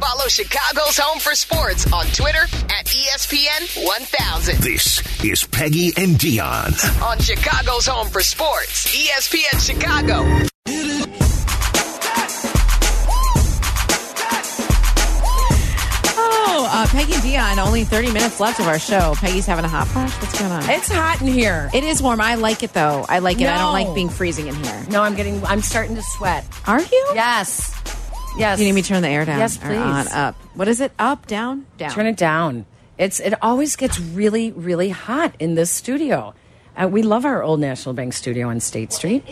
Follow Chicago's Home for Sports on Twitter at E ESPN 1000. This is Peggy and Dion. On Chicago's Home for Sports, E ESPN Chicago. Oh, uh, Peggy and Dion, only 30 minutes left of our show. Peggy's having a hot flash. What's going on? It's hot in here. It is warm. I like it though. I like it. I don't No. like being freezing in here. No, I'm getting. I'm starting to sweat. Are you? Yes. Yes. You need me to turn the air down? Yes, or please. on up. What is it? Up, down, down. Turn it down. It's. It always gets really, really hot in this studio. Uh, we love our old National Bank studio on State Street.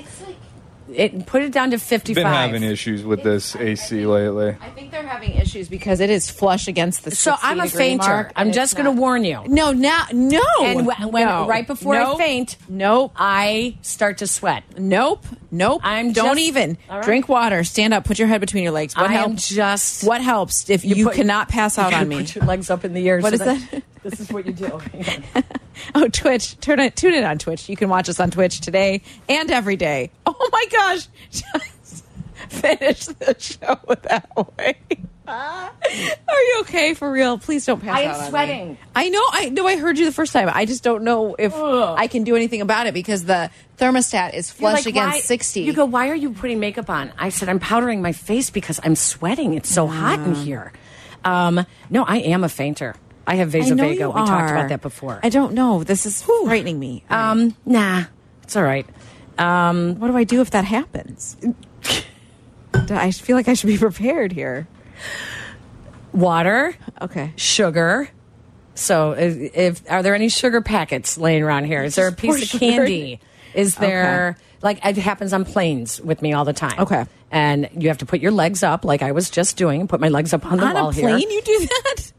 It put it down to 55. been having issues with this AC lately. I think they're having issues because it is flush against the. So I'm a 60 degree fainter. mark, I'm and just it's going to not- warn you. No, now, no. And wh- when No. right before Nope. I faint, Nope. I start to sweat. Nope. Nope. I'm don't just- even All right. drink water. Stand up. Put your head between your legs. What I am helps? just- what helps if you, put- cannot pass out You on gotta me. Put your legs up in the air. What is that? This is what you do. Oh, Twitch. Turn it, tune it on Twitch. You can watch us on Twitch today and every day. Oh my gosh. Just finish the show that way. Are you okay for real? Please don't pass I am out on me. sweating. I know. I know. I heard you the first time. I just don't know if I can do anything about it because the thermostat is You're flush like, against why- 60. You go, why are you putting makeup on? I said, I'm powdering my face because I'm sweating. It's so hot in here. Um, no, I am a fainter. I have I know vasovaga. We you talked are. about that before. I don't know. This is frightening me. um, nah, it's all right. Um, what do I do if that happens? I feel like I should be prepared here. water, Okay. sugar. So, if, if are there any sugar packets laying around here? Is there a pour piece of sugar candy? Is there Okay. like it happens on planes with me all the time? Okay. and you have to put your legs up, like I was just doing. Put my legs up on the on wall a plane here. you do that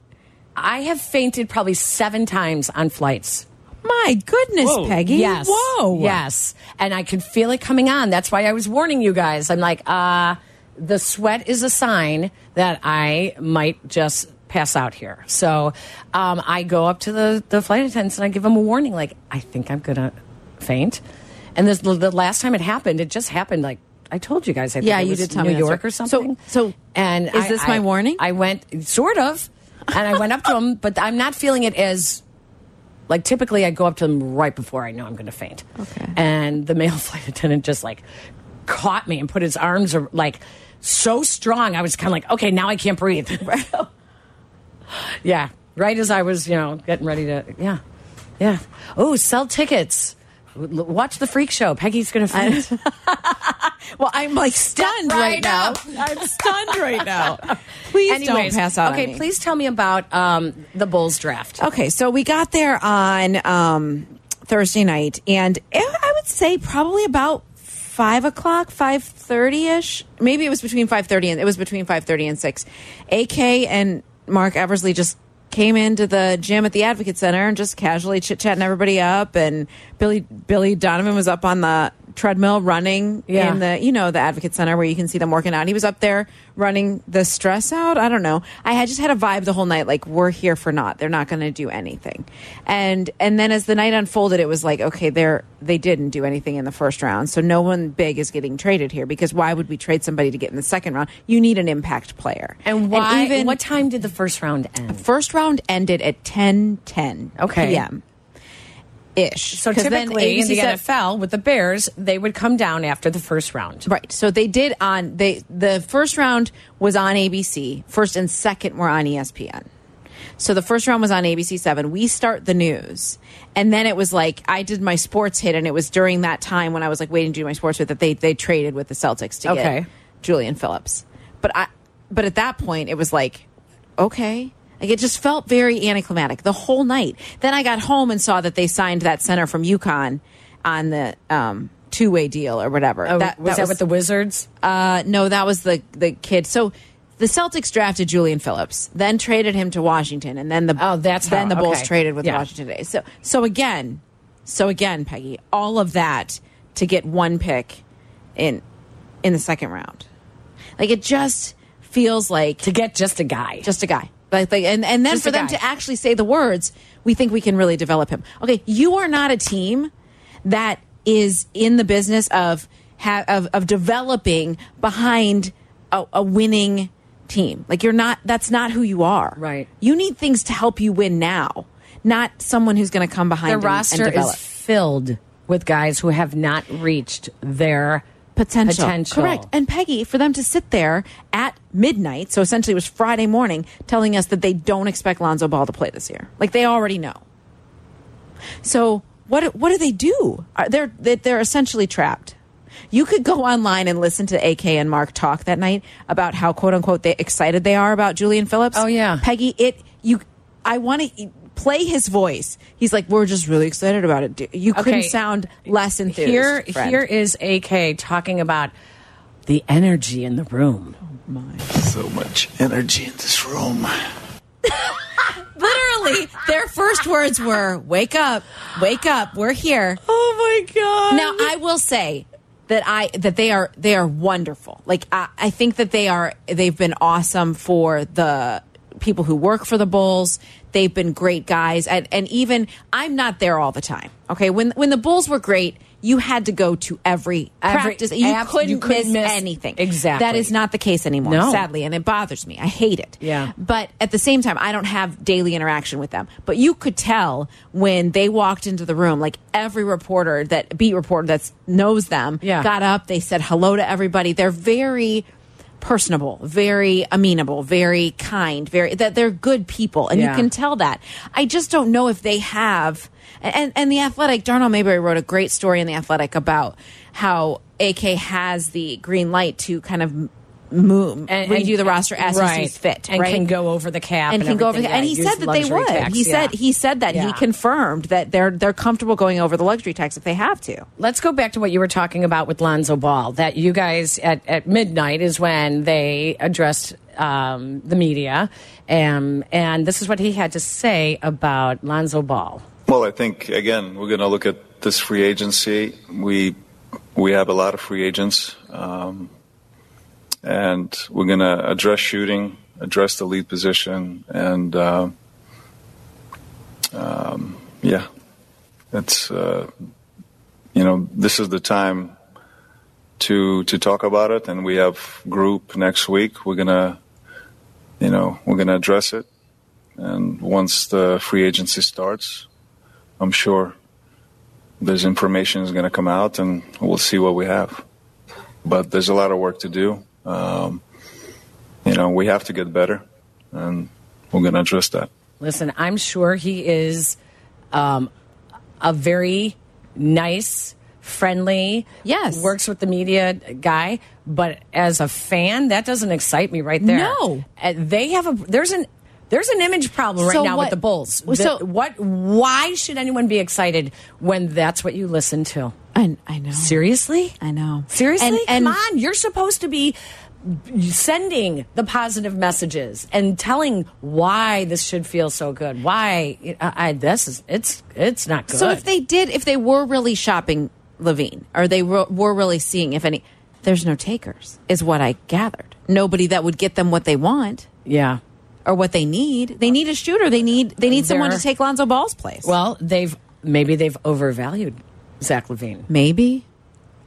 I have fainted probably seven times on flights. my goodness peggy Yes. whoa Yes. And I could feel it coming on. That's why I was warning you guys. I'm like, uh, the sweat is a sign that I might just pass out here. So um, I go up to the, the flight attendants and I give them a warning, like, I think I'm going to faint. And this, the last time it happened, it just happened like, I told you guys, I think Yeah, it you was did tell New me that's York right. or So- something. so and is I- this my I- warning? I went sort of, and I went up to them, but I'm not feeling it as like typically, I go up to them right before I know I'm going to faint. Okay. And the male flight attendant just like caught me and put his arms ar- like so strong. I was kind of like, okay, now I can't breathe. yeah. Right as I was, you know, getting ready to, yeah, yeah. Oh, sell tickets. W- l- Watch the freak show. Peggy's going to faint. well i'm like stunned right, right now up. i'm stunned right now please don't Anyways, pass out on Okay, me. please tell me about um, the Bulls draft. okay so we got there on um thursday night and it- i would say probably about Five o'clock, five thirty-ish. Maybe it was between five thirty and it was between five thirty and six. AK and Mark Eversley just came into the gym at the Advocate Center and just casually chit-chatting everybody up. And Billy Billy Donovan was up on the treadmill running Yeah. in the you know the Advocate Center where you can see them working out. He was up there running the stress out. I don't know. I had just had a vibe the whole night like we're here for naught. They're not going to do anything. And and then as the night unfolded, it was like okay, they're they didn't do anything in the first round, so no one big is getting traded here because why would we trade somebody to get in the second round? You need an impact player. And why? even what time did the first round end? first round ended at ten ten Okay. p.m. ish. So 'Cause then typically in ABC the said- NFL with the Bears, they would come down after the first round. Right. So they did on they the first round was on ABC. First and second were on E ESPN. So the first round was on ABC 7. We start the news. And then it was like I did my sports hit and it was during that time when I was like waiting to do my sports hit that they they traded with the Celtics to Okay. get Julian Phillips. But I but at that point it was like okay. Like it just felt very anticlimactic the whole night. Then I got home and saw that they signed that center from UConn on the um two-way deal or whatever. Oh, was that with the Wizards? Uh, no, that was the the kid. So the Celtics drafted Julian Phillips, then traded him to Washington, and then the Oh, that's then the how- Bulls okay. traded with Yeah. Washington today. So so again, so again, Peggy, all of that to get one pick in in the second round. Like it just feels like to get just a guy. just a guy. Like, like and, and then Just for a them guy. to actually say the words, we think we can really develop him. Okay, you are not a team that is in the business of ha- of, of developing behind a, a winning team. Like you're not that's not who you are. Right. You need things to help you win now, not someone who's going to come behind The and- and roster is develop. filled with guys who have not reached their potential. Potential. Correct. And Peggy, for them to sit there at midnight, so essentially it was Friday morning, telling us that they don't expect Lonzo Ball to play this year. Like they already know. So what what do they do? Are, they're they- they're essentially trapped. You could go online and listen to AK and Mark talk that night about how quote unquote they excited they are about Julian Phillips. Oh, yeah. Peggy, it you I want to play his voice. He's like we're just really excited about it. dude." You couldn't Okay. sound less enthused. Here, friend. here is AK talking about the energy in the room. So much energy in this room. Literally, their first words were, "Wake up, wake up, we're here." Oh my god! Now, I will say that I that they are they are wonderful. Like I, I think that they are they've been awesome for the people who work for the Bulls. They've been great guys, and, and even I'm not there all the time. Okay, when when the Bulls were great. You had to go to every, Every- practice. You abs- couldn't, you couldn't miss, miss- anything. Exactly. That is not the case anymore, No. sadly, and it bothers me. I hate it. Yeah. But at the same time, I don't have daily interaction with them. But you could tell when they walked into the room, like every reporter that beat reporter that knows them Yeah. got up. They said hello to everybody. They're very personable, very amenable, very kind, very that they're good people, and Yeah. you can tell that. I just don't know if they have. And and the athletic, Darnell Mayberry wrote a great story in the athletic about how AK has the green light to kind of move redo the roster as he right. sees fit, and right? can go over the cap and, and, can go over. The, everything. and Yeah, he use said that they luxury would. tax, he yeah. said he said that Yeah. he confirmed that they're they're comfortable going over the luxury tax if they have to. Let's go back to what you were talking about with Lonzo Ball. That you guys at, at midnight is when they addressed um, the media, um, and this is what he had to say about Lonzo Ball. Well, I think again we're going to look at this free agency. We we have a lot of free agents, um, and we're going to address shooting, address the lead position, and uh, um, yeah, it's uh, you know this is the time to to talk about it, and we have group next week. We're gonna you know we're gonna address it, and once the free agency starts. I'm sure there's information is going to come out and we'll see what we have. But there's a lot of work to do. Um, you know, we have to get better and we're going to address that. Listen, I'm sure he is um, a very nice, friendly, Yes. works with the media guy. But as a fan, that doesn't excite me right there. No. Uh, they have a there's an there's an image problem right So now with what- the Bulls. Well, The- so- what? Why should anyone be excited when that's what you listen to? I, I know. Seriously, I know. Seriously, And- and- come on. You're supposed to be sending the positive messages and telling why this should feel so good. Why I, I this is it's it's not good. So if they did, if they were really shopping Levine, or they were, were really seeing if any, there's no takers, is what I gathered. Nobody that would get them what they want yeah. or what they need. They need a shooter. They need they need someone They're- to take Lonzo Ball's place. Well, they've maybe they've overvalued Zach Levine. maybe.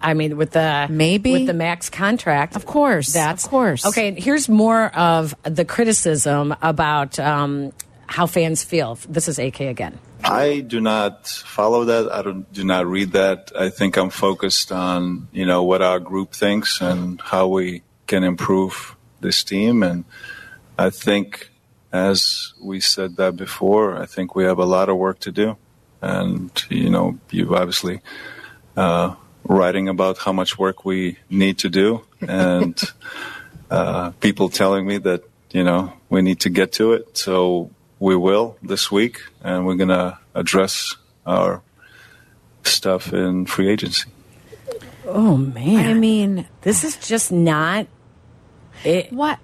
I mean, with the Maybe. with the max contract, Of course, That's of course. Okay, and here's more of the criticism about um, how fans feel. This is AK again. I do not follow that. I don't, do not read that. I think I'm focused on, you know, what our group thinks and how we can improve this team. And I think, as we said that before, I think we have a lot of work to do. And, you know, you've obviously uh, writing about how much work we need to do and uh, people telling me that, you know, we need to get to it. So we will this week and we're going to address our stuff in free agency. Oh man, I mean, this is just not it. what?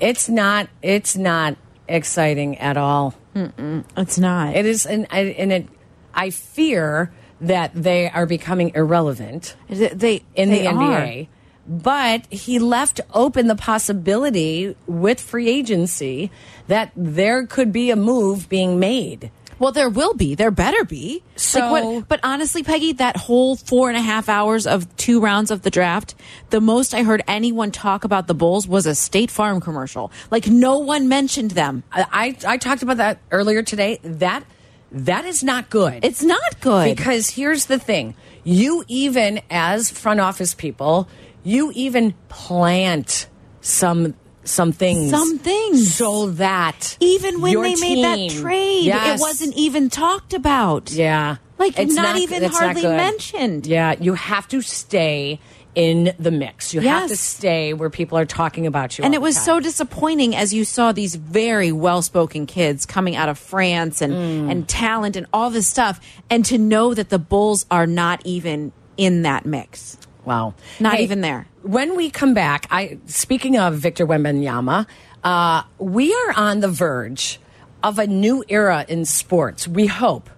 It's not. It's not exciting at all. It's not. It is, and I- and it. I fear that they are becoming irrelevant. they in they the are. NBA. But he left open the possibility with free agency that there could be a move being made. Well, there will be. There better be. So- Like, what, but honestly, Peggy, that whole four and a half hours of two rounds of the draft, the most I heard anyone talk about the Bulls was a State Farm commercial. Like no one mentioned them. I, I talked about that earlier today. That that is not good. It's not good. Because here's the thing you, even as front office people, you even plant some some things. Some things. So that. even when your they made that team- trade, Yes. it wasn't even talked about. Yeah. Like, not even it's hardly good. mentioned. Yeah. You have to stay in the mix. You have to Yes. stay where people are talking about you. And all it the was time. so disappointing as you saw these very well spoken kids coming out of France and, and talent and all this stuff, and to know that the Bulls are not even in that mix. Wow. Not even there. When we come back, I speaking of Victor Wembanyama, uh, we are on the verge of a new era in sports. We hope,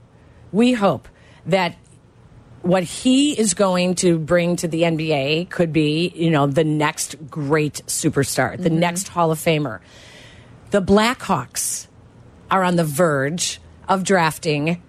we hope that what he is going to bring to the NBA could be, you know, the next great superstar, the Mm-hmm. next Hall of Famer. The Blackhawks are on the verge of drafting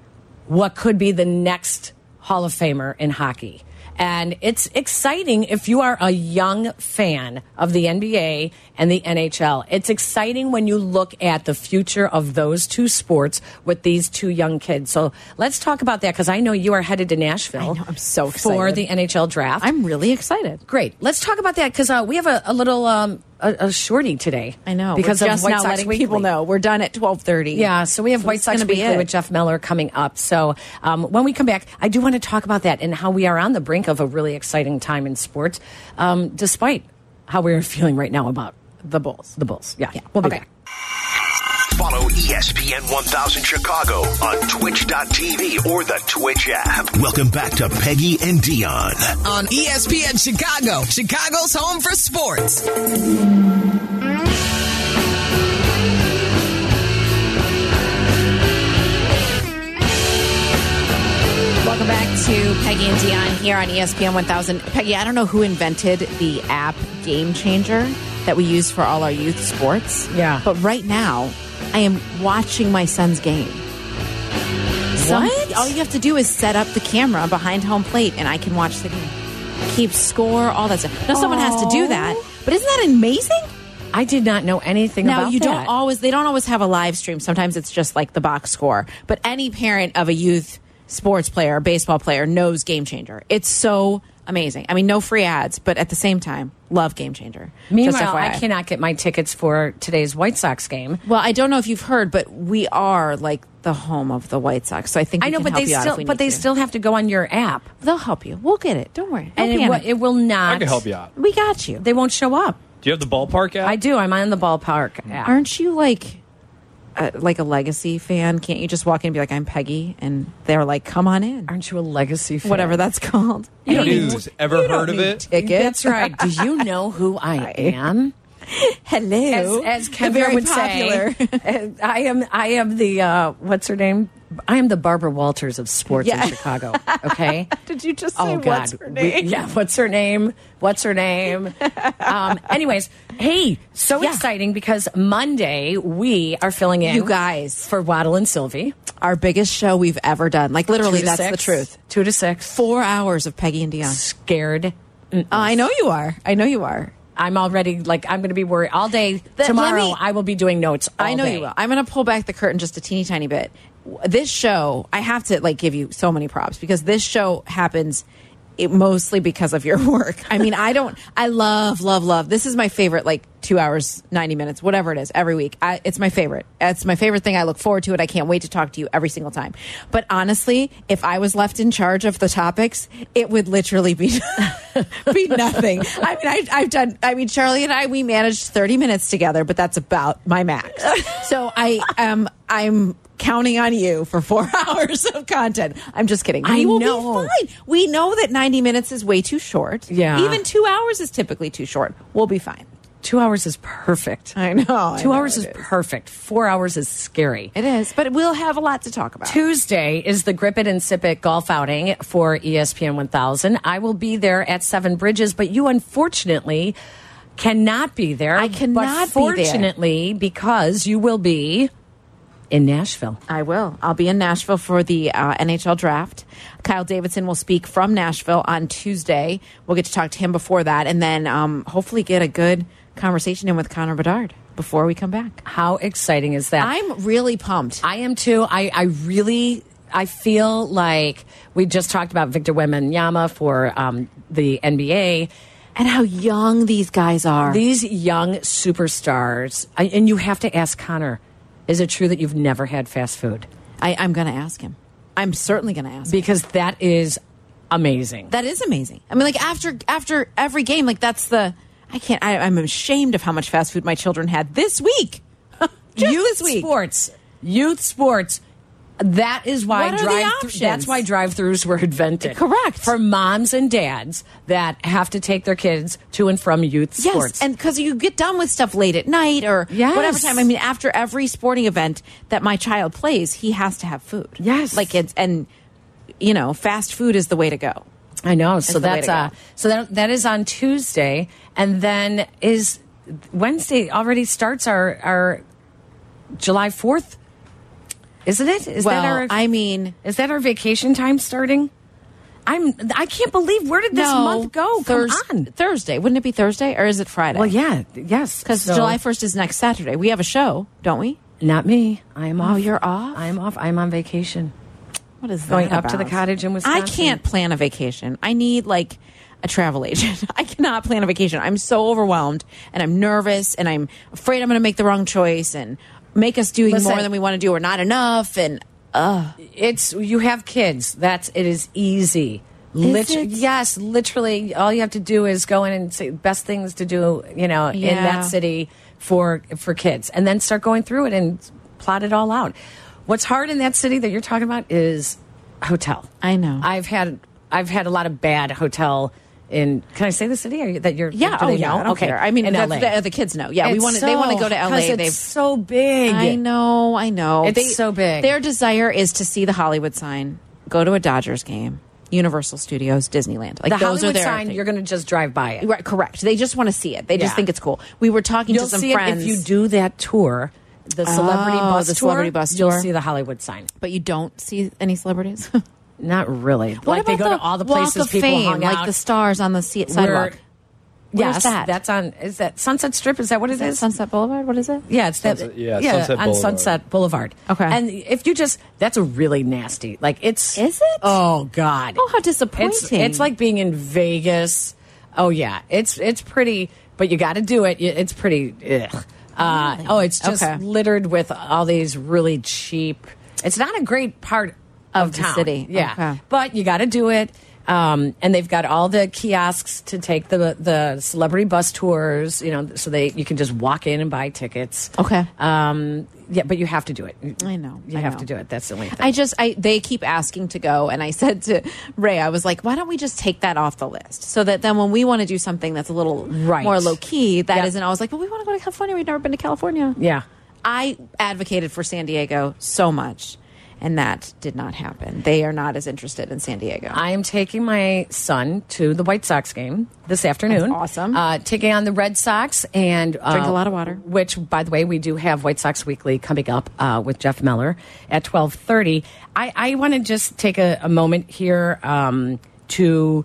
what could be the next Hall of Famer in hockey. And it's exciting if you are a young fan of the NBA and the NHL. It's exciting when you look at the future of those two sports with these two young kids. So let's talk about that because I know you are headed to Nashville. I know, I'm so for excited. the NHL draft. I'm really excited. Great. Let's talk about that because uh, we have a, a little um, a, a shorty today. I know because we're of just White now Sox letting Weekly. people know we're done at twelve thirty. Yeah, so we have White that's Sox gonna be Weekly it. with Jeff Miller coming up. So um, when we come back, I do want to talk about that and how we are on the brink of a really exciting time in sports, um, despite how we're feeling right now about the Bulls. The Bulls. Yeah, we'll be Okay. back. Follow E ESPN 1000 Chicago on twitch.tv or the Twitch app. Welcome back to Peggy and Dion. on E ESPN Chicago, Chicago's home for sports. Welcome back to Peggy and Dion here on E ESPN 1000. Peggy, I don't know who invented the app Game Changer that we use for all our youth sports. Yeah. But right now, I am watching my son's game. Some- What? all you have to do is set up the camera behind home plate, and I can watch the game. Keep score, all that stuff. Now, someone has to do that, but isn't that amazing? I did not know anything Now about you that. don't always they don't always have a live stream. Sometimes it's just like the box score. But any parent of a youth sports player, baseball player knows Game Changer. It's so amazing. I mean, no free ads, but at the same time, love Game Changer. Just Meanwhile, I FYI. cannot get my tickets for today's White Sox game. Well, I don't know if you've heard, but we are like the home of the White Sox. So I think I we know, can but help they you out if still we but need they to. still have to go on your app, they'll help you. We'll get it. Don't worry. Don't and it, panic. wi- it will not. I can help you out. we got you. They won't show up. Do you have the ballpark app? I do. I'm on the ballpark. app. Aren't you like uh, like a legacy fan? Can't you just walk in and be like, "I'm Peggy," and they're like, "Come on in." Aren't you a legacy fan? whatever that's called. You don't News. need- Ever you don't heard of need it? Tickets. That's right. Do you know who I am? Hello. As, as The Kevin very would popular. say, I am. I am the uh, what's her name? I am the Barbara Walters of sports Yeah. in Chicago. Okay. Did you just say Oh God! what's her We- name? yeah, what's her name? What's her name? um, anyways, hey, so Yeah. exciting because Monday we are filling in, You guys. for Waddle and Sylvie. Our biggest show we've ever done. Like literally, Two to that's the six. truth. Two to six. Four hours of Peggy and Dion. Scared. I know you are. I know you are. I'm already like I'm going to be worried all day let tomorrow. me- I will be doing notes. all I know day. you will. I'm going to pull back the curtain just a teeny tiny bit. W- This show, I have to like give you so many props because this show happens it mostly because of your work. I mean, I don't I love love love. This is my favorite like 2 hours 90 minutes, whatever it is, every week. I, it's my favorite. It's my favorite thing. I look forward to it. I can't wait to talk to you every single time. But honestly, if I was left in charge of the topics, it would literally be be nothing. I mean, I, I've done. I mean, Charlie and I we managed thirty minutes together, but that's about my max. So I am. I'm counting on you for four hours of content. I'm just kidding. We I will know. be fine. We know that ninety minutes is way too short. Yeah. even two hours is typically too short. We'll be fine. Two hours is perfect. I know. Two hours is perfect. Four hours is scary. It is, but we'll have a lot to talk about. Tuesday is the Grip It and Sip It golf outing for E ESPN 1000. I will be there at Seven Bridges, but you unfortunately cannot be there. I cannot be But there. fortunately, because you will be in Nashville. I will. I'll be in Nashville for the uh, NHL draft. Kyle Davidson will speak from Nashville on Tuesday. We'll get to talk to him before that, and then um, hopefully get a good conversation in with Connor Bedard before we come back. How exciting is that? I'm really pumped. I am too. I, I really I feel like we just talked about Victor Wembanyama for um, the NBA. And how young these guys are. These young superstars, I, and you have to ask Connor: Is it true that you've never had fast food? I, I'm going to ask him. I'm certainly going to ask. him. Because that is amazing. That is amazing. I mean, like after after every game, like that's the I can't. I, I'm ashamed of how much fast food my children had this week. Just youth this week. sports, youth sports. That is why What are the drive. options? that's why drive-throughs were invented. Correct. for moms and dads that have to take their kids to and from youth Yes, sports. and because you get done with stuff late at night or Yes. whatever time. I mean, after every sporting event that my child plays, he has to have food. Yes. like it's and you know, fast food is the way to go. I know. So the way that's to go. uh, so that that is on Tuesday, and then is Wednesday already starts our our July fourth, isn't it? Is well, that our I mean, is that our vacation time starting? I'm I can't believe where did this no, month go? Come Thurs- on. Thursday. Wouldn't it be Thursday or is it Friday? Well, yeah, yes, because So- July first is next Saturday. We have a show, don't we? Not me. I am off. you're off? I am off. I'm on vacation. What is that Going up to about? the cottage in I Wisconsin. can't plan a vacation. I need like a travel agent. I cannot plan a vacation. I'm so overwhelmed and I'm nervous and I'm afraid I'm going to make the wrong choice and make us doing Listen. more than we want to do or not enough. And it's you have kids. That's it is easy. Lit- it? Yes, literally. All you have to do is go in and say best things to do. You know, in Yeah. that city for for kids, and then start going through it and plot it all out. What's hard in that city that you're talking about is hotel. I know. I've had I've had a lot of bad hotel. In can I say the city Are you, that you're? yeah, do oh they yeah, know? I don't okay, care. I mean, in that's- LA. the, the kids know. Yeah, we It's want to. they want to so- go to 'cause L.A. It's They've so big. I know, I know. It's so big. Their desire is to see the Hollywood sign, go to a Dodgers game, Universal Studios, Disneyland. Like The those Hollywood are their sign. thing. You're going to just drive by it. Right, correct. They just want to see it. They just Yeah. think it's cool. We were talking You'll to some see friends. it if you do that tour, the celebrity Oh, bus the tour. celebrity bus tour. You'll see the Hollywood sign. but you don't see any celebrities. Not really. like they go to all the Walk places of people fame, hung like out. the stars on the sea- Where- sidewalk? Where's Yes, that? that's on. Is that Sunset Strip? Is that what it is? Is that Sunset Boulevard? What is it? Yeah, it's that. Sunset- yeah, Sunset on Boulevard. Sunset Boulevard. Okay. and if you just, that's a really nasty. Like it's. Is it? Oh God. Oh, how It's- disappointing. It's, like being in Vegas. Oh yeah, it's it's pretty, but you got to do it. It's pretty. Ugh. Uh, oh, it's just Okay. littered with all these really cheap. It's not a great part of, Of the town. city. Yeah, Okay. but you got to do it. Um, and they've got all the kiosks to take the the celebrity bus tours, you know, so they you can just walk in and buy tickets. Okay. Um, yeah, but you have to do it. I know, You I have know. to do it. That's the only thing. I just I they keep asking to go and I said to Ray I was like why don't we just take that off the list so that then when we want to do something that's a little Right. more low key that Yep. not always like well we want to go to California we've never been to California yeah. I advocated for San Diego so much, and that did not happen. They are not as interested in San Diego. I am taking my son to the White Sox game this afternoon. awesome. Uh, taking on the Red Sox and uh, Drink a lot of water. Which, by the way, we do have White Sox Weekly coming up uh, with Jeff Miller at twelve thirty. I, I want to just take a, a moment here um, to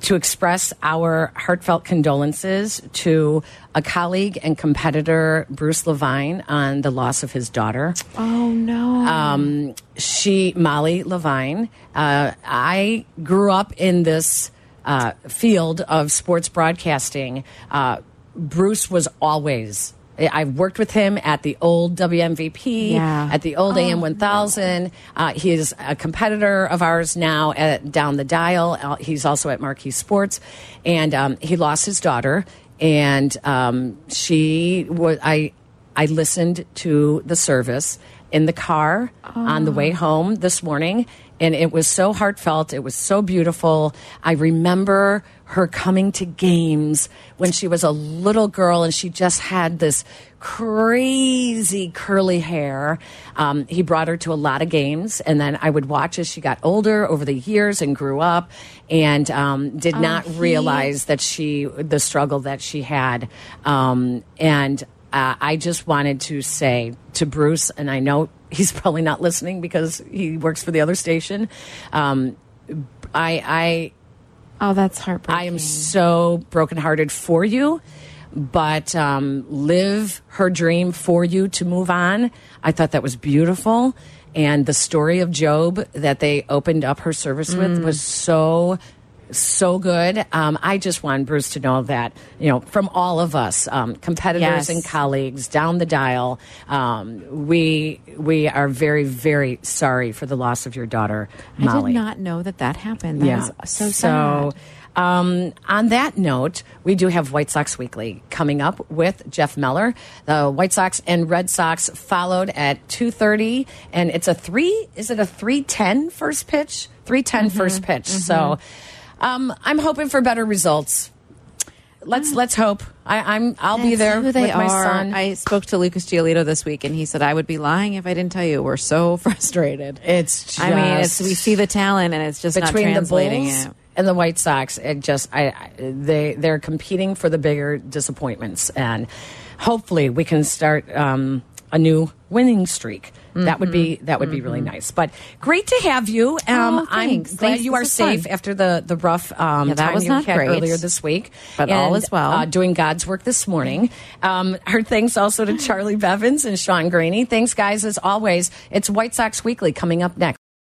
to express our heartfelt condolences to a colleague and competitor, Bruce Levine, on the loss of his daughter oh no! um, she Molly Levine. Uh, I grew up in this uh, field of sports broadcasting. Uh, Bruce was always. I- I've worked with him at the old WMVP, Yeah. at the old AM 1000. Uh, he is a competitor of ours now at Down the Dial. Uh, He's also at Marquee Sports, and um, he lost his daughter. And um, she was I. I listened to the service in the car on the way home this morning, and it was so heartfelt. It was so beautiful. I remember her coming to games when she was a little girl, and she just had this crazy curly hair. Um, he brought her to a lot of games, and then I would watch as she got older over the years and grew up, and um, did not realize that she the struggle that she had, um, and uh, I just wanted to say to Bruce, and I know he's probably not listening because he works for the other station. Um, I, I, Oh, that's heartbreaking. I am so brokenhearted for you, but um, live her dream for you to move on. I thought that was beautiful. And the story of Job that they opened up her service Mm. with was so, so good. Um, I just want Bruce to know that, you know, from all of us, um, Yes. competitors and colleagues down the dial, um, we, we are very, very sorry for the loss of your daughter, I Molly. did not know that that happened. That is so sad. Um, on that note, we do have White Sox Weekly coming up with Jeff Meller. The White Sox and Red Sox followed at two thirty, and it's a three. Is it a three ten first pitch? Three Mm-hmm. first pitch. So, um, I'm hoping for better results. Let's let's hope. I, I'm I'll be Ah. That's there who they with my are. son. I spoke to Lucas Giolito this week, and he said I would be lying if I didn't tell you. We're so frustrated. it's just, I mean, it's, we see the talent, and it's just not between the translating Bulls it. and the White Sox. It just I, I they they're competing for the bigger disappointments, and hopefully we can start um, a new winning streak. That would be that would be really nice. But great to have you. Um, Mm-hmm. Oh, I'm thanks. glad Thanks. you This are was fun. safe after the the rough um, Yeah, that time was you not had great. earlier this week. But all And, is well. uh, doing God's work this morning. Um, her thanks also to Charlie Bevins and Sean Graney. Thanks, guys, as always. It's White Sox Weekly coming up next.